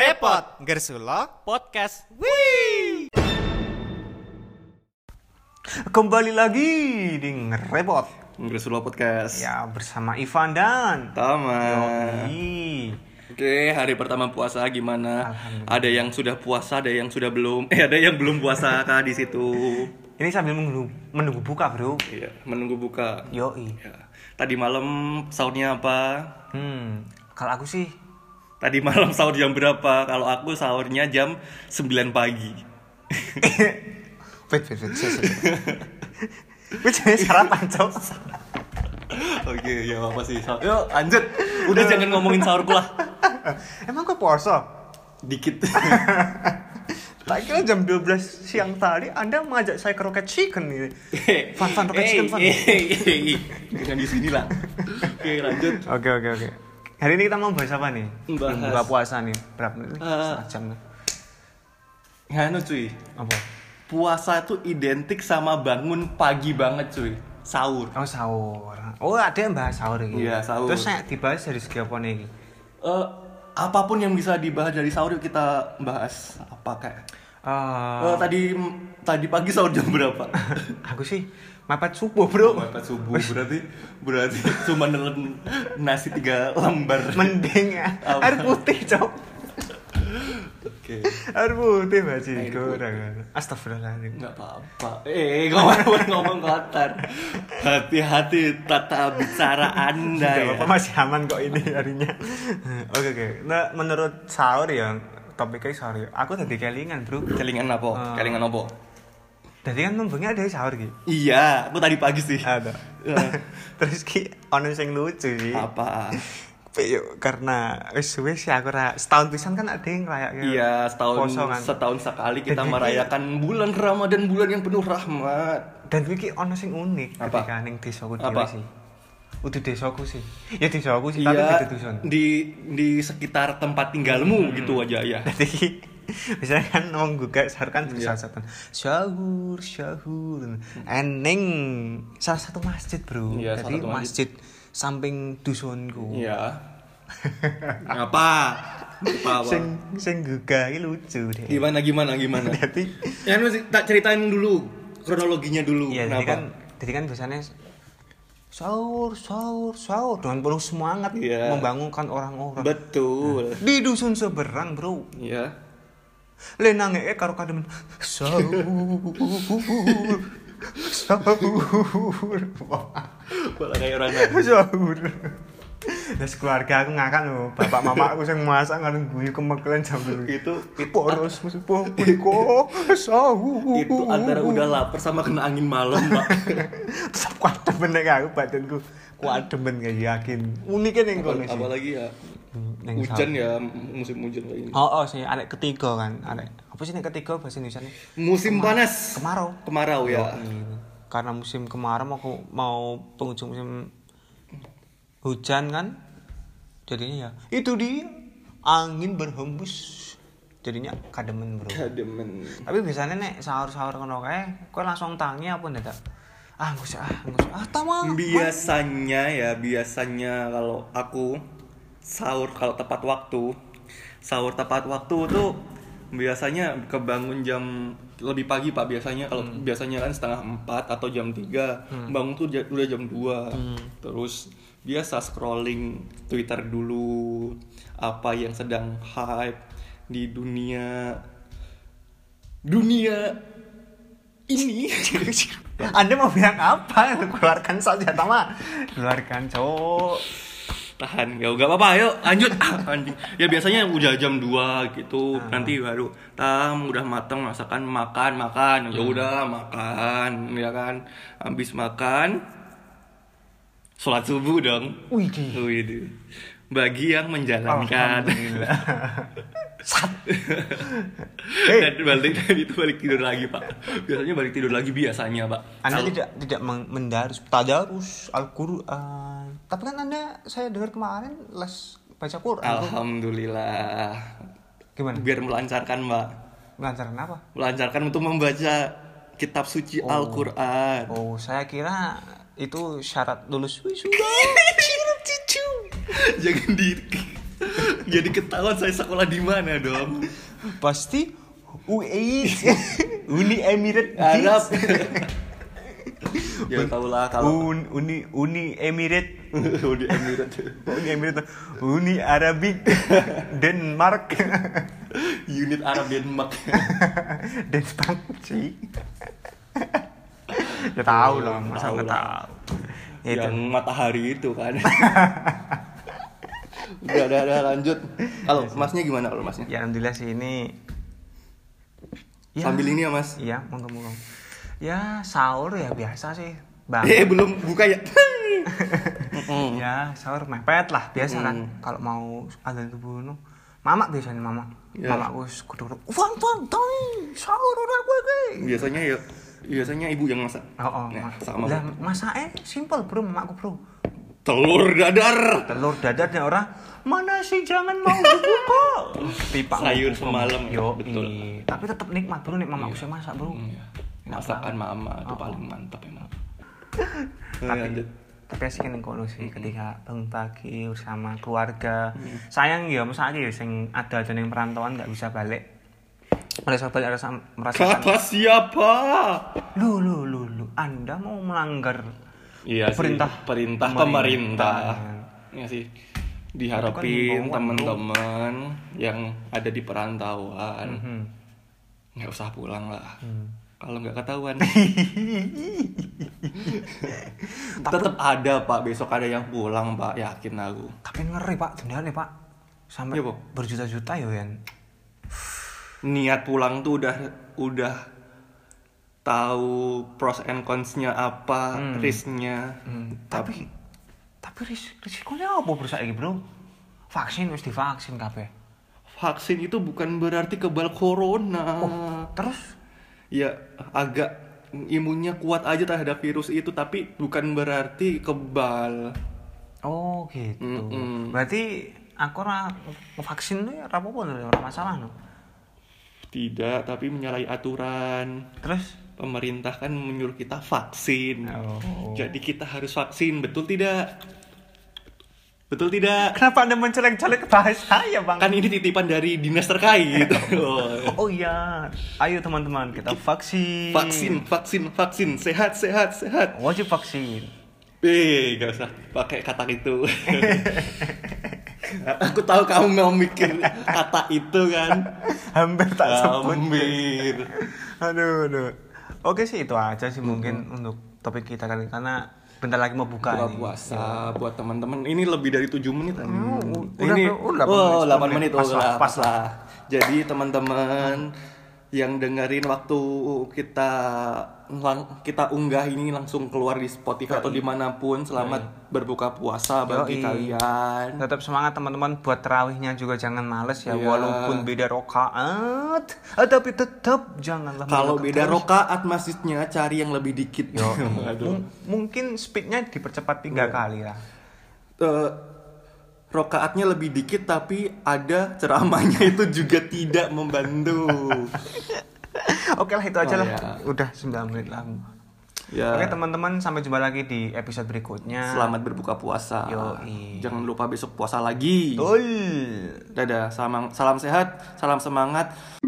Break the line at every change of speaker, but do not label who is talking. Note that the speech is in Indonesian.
Depot Garis Ulok
Podcast.
Wih Kembali lagi di Ngerepot
Inggris Solo Podcast.
Ya bersama Ivan dan
Tama.
Yoi.
Oke, hari pertama puasa gimana? Ada yang sudah puasa, ada yang sudah belum. Eh, ada yang belum puasa kah di situ?
Ini sambil menunggu, menunggu buka bro
Iya, menunggu buka.
Yoi
Ya. Tadi malam sahurnya apa?
Hmm Kalau aku sih
Tadi malam sahur jam berapa? Kalau aku sahurnya jam 9 pagi.
Wait wait wait sorry, sorry. Gue jadi sarapan cok
Oke, ya apa sih? Sahur- Yuk, lanjut. Udah jangan ngomongin sahurku lah.
Emang gue puasa?
Dikit.
Tak kira jam 12 siang tadi Anda mengajak saya ke Rocket Chicken ini Fun
Eh,
fun Rocket Chicken fun
Jangan di sini lah. Oke, lanjut.
Oke oke oke. Hari ini kita mau bahas apa nih?
Bahas.
Buka puasa nih. Berapa menit? nih?
Eh.
Setengah jam nih.
Nganu cuy,
Apa?
puasa tuh identik sama bangun pagi banget cuy, sahur.
Oh sahur. Oh ada yang bahas sahur ini.
Iya, sahur.
Terus saya dibahas dari segi apa nih?
Eh, apapun yang bisa dibahas dari sahur yuk kita bahas apa kayak.
Eh,
Eh, tadi tadi pagi sahur jam berapa?
aku sih mepet subuh bro.
Mepet subuh berarti berarti cuma nelen nasi tiga lembar.
Mending ya.
Apa?
Air putih cok.
Oke,
Air putih masih
Air
kurang. Astagfirullahaladzim.
nggak apa-apa. Eh, ngomong ngomong kotor. Hati-hati tata bicara anda
Gak
ya.
apa masih aman kok ini harinya. Oke oke. Nah menurut sahur ya topiknya sahur. ya. Aku tadi kelingan bro.
Kelingan apa? Kelingan apa?
Tadi kan membengkak dari sahur gitu.
Iya, aku tadi pagi sih.
ada
Eh,
terus ki ono sing lucu sih
apa
Piyo, karena wis suwe sih aku ra setahun pisan kan ada yang kayak
iya setahun
Poso kan.
setahun sekali kita
Jadi-
merayakan bulan Ramadan bulan yang penuh rahmat
dan kuwi ki ono sing unik
Apa?
ketika ning desaku dhewe
Apa?
sih udah desaku sih ya desaku sih tapi
iya
beda dusun
di di sekitar tempat tinggalmu gitu aja ya
jadi ki misalnya kan ngomong gugat sahur kan salah satu sahur sahur eneng salah satu masjid bro
Iya, salah
jadi
satu
masjid. samping dusunku
iya apa apa, apa?
sing sing gugat ki lucu deh
gimana gimana gimana
jadi
ya masih tak ceritain dulu kronologinya dulu
Iya, jadi
kenapa
kan, jadi kan biasanya sahur, sahur, sahur dengan penuh semangat
Iya.
membangunkan orang-orang.
betul
Di dusun seberang, bro.
Iya
Lenange eh karo kademen sahur, sahur,
malah kayak orang lain.
sahur. Terus keluarga aku ngakak loh, bapak mama aku yang masak ngareng gue kemekelan jam dulu.
itu
Poros musuh kok sahur.
itu antara udah lapar sama kena angin malam pak
tetap kuat demen nek aku badanku kuat demen gak yakin uniknya nih kono sih
apalagi ya
Neng
hujan ya musim hujan kayak gini
oh oh sih ada ketiga kan ada apa sih nek ketiga bahasa Indonesia nih
musim panas
kemarau
kemarau ya
Ini. karena musim kemarau mau ke- mau penghujung musim hujan kan jadinya ya itu dia angin berhembus jadinya kademen bro
iya, demen
tapi biasanya nek sahur-sahur kono kae kowe langsung tangi apa ndak ah nggak usah ah nggak usah ah tamah
biasanya ya biasanya kalau aku sahur kalau tepat waktu sahur tepat waktu tuh biasanya kebangun jam lebih pagi pak biasanya kalau biasanya kan setengah empat atau jam tiga bangun tuh ja- udah jam dua terus biasa scrolling twitter dulu apa yang sedang hype di dunia dunia ini
Anda mau bilang apa? Keluarkan saja, Tama. Keluarkan, cowok.
tahan ya gak apa-apa ayo lanjut Ah, anjing ya biasanya udah jam 2 gitu
Ah.
nanti baru tam udah mateng masakan makan makan ya
Hmm.
udah makan ya kan habis makan sholat subuh dong
Wih, di.
Wih, di. bagi yang menjalankan
Alhamdulillah. Sat. Eh.
dan balik dan itu balik tidur lagi pak biasanya balik tidur lagi biasanya pak
Anda tidak tidak meng- mendarus tadarus Al-Qur'an. Tapi kan Anda saya dengar kemarin les baca Qur'an. tuh.
alhamdulillah
Gimana?
biar melancarkan mbak
Lancaran apa?
melancarkan untuk membaca kitab suci Al-Qur'an
Oh, saya kira itu syarat lulus wisuda.
jangan di Jadi ketahuan saya sekolah di mana dong?
Pasti E UAE, Uni Emirat
Arab. ya tau lah kalau
Un, Uni Uni Emirat,
oh, di Emirat.
Uni Emirat, Uni Arabik, Denmark,
Unit Arab Denmark.
Denmark sih. Ya tahu lah, masa
Tahu
nggak
lah.
tahu. Ya itu.
yang matahari itu kan. udah, udah, udah lanjut. Kalau masnya gimana kalau masnya?
Ya alhamdulillah sih ini.
Sambil ini ya mas.
Iya, monggo monggo. Ya sahur ya biasa sih, bang.
Eh belum buka ya. Mm-mm.
ya sahur mepet lah biasa kan kalau mau ada tubuh nu mamak biasanya mamak
Ya.
mamak gue kudu kudu uang uang tong sahur udah gue gue
biasanya ya biasanya ibu yang masak.
oh oh
Nah,
mas
sama.
lah masaknya simple bro mamakku bro
Telur dadar.
telur dadar dan orang mana sih jangan mau dibuka pipa
Sayur
bubuk, bro.
semalam, ya,
yo
betul. Iya. Hmm.
i. tapi tetap nikmat bro nih mamakku sih masak bro Enak
Masakan mama itu paling mantap emang. Nah,
tapi
lanjut. Hmm.
tapi asik ning kono sih ketika bangun pagi bersama keluarga sayang ya misalnya ya sing ada jeneng perantauan nggak bisa balik merasa balik merasa merasakan
Kata siapa?
lu lu lu lu anda mau melanggar
Iya sih,
Perintah.
perintah
Pemerintah.
pemerintah. Iya sih.
Kan
Diharapin
himbauan,
teman-teman yang ada di perantauan
hmm.
nggak usah pulang lah. Kalau nggak ketahuan. Tetap ada pak. Besok ada yang pulang pak. Yakin aku.
tapi ngeri pak dendanya pak sampai
Iya, Pak.
berjuta-juta ya yang
niat pulang tuh udah udah tahu pros and cons-nya apa, risk-nya. Tapi
Hmm. tapi tapi ris risikonya apa bro saiki bro vaksin harus divaksin kabeh
vaksin itu bukan berarti kebal corona.
Oh. terus
Ya agak imunnya kuat aja terhadap virus itu, tapi bukan berarti kebal.
Oh gitu. Berarti aku ora vaksin tuh ora apa-apa lho, ora masalah lho.
Tidak, tapi menyalahi aturan.
Terus
Pemerintah kan menyuruh kita vaksin.
Oh.
Jadi kita harus vaksin, betul tidak? Betul tidak?
kenapa Anda mencolek-colek ke bahasa saya, Bang?
Kan ini titipan dari dinas terkait.
Oh
Oh.
iya. Ayo teman-teman kita vaksin.
vaksin vaksin vaksin sehat sehat sehat
Wajib vaksin.
eh gak usah pakai kata itu aku tahu kamu mau mikir kata itu kan
Hampir tak sebut.
Hampir.
Aduh, aduh. Oke sih itu aja sih mungkin untuk topik kita kali ini, karena bentar lagi mau buka
buka
nih.
puasa buat teman-teman ini lebih dari 7 menit kan
Hmm, udah,
ini
udah, udah,
oh,
8 menit.
8 menit,
Pas lah,
oh, lah,
pas
pas lah jadi teman-teman yang dengerin waktu kita lang- kita unggah ini langsung keluar di Spotify atau dimanapun selamat berbuka puasa
Yoi.
bagi kalian
Tetap semangat teman-teman buat terawihnya juga jangan males ya
Iya.
walaupun beda rokaat, eh, tapi tetap janganlah
kalau
melakukan
beda rokaat masjidnya cari yang lebih dikit Aduh.
Mung- mungkin speednya dipercepat tiga
Iya.
kali lah
eh rokaatnya lebih dikit tapi ada ceramahnya itu juga tidak membantu.
oke lah itu aja
Oh,
lah
ya.
udah 9 menit lah
ya.
oke teman-teman sampai jumpa lagi di episode berikutnya
Selamat berbuka puasa.
Yoi.
Jangan lupa besok puasa lagi.
Betul.
Dadah, salam, salam sehat, salam semangat.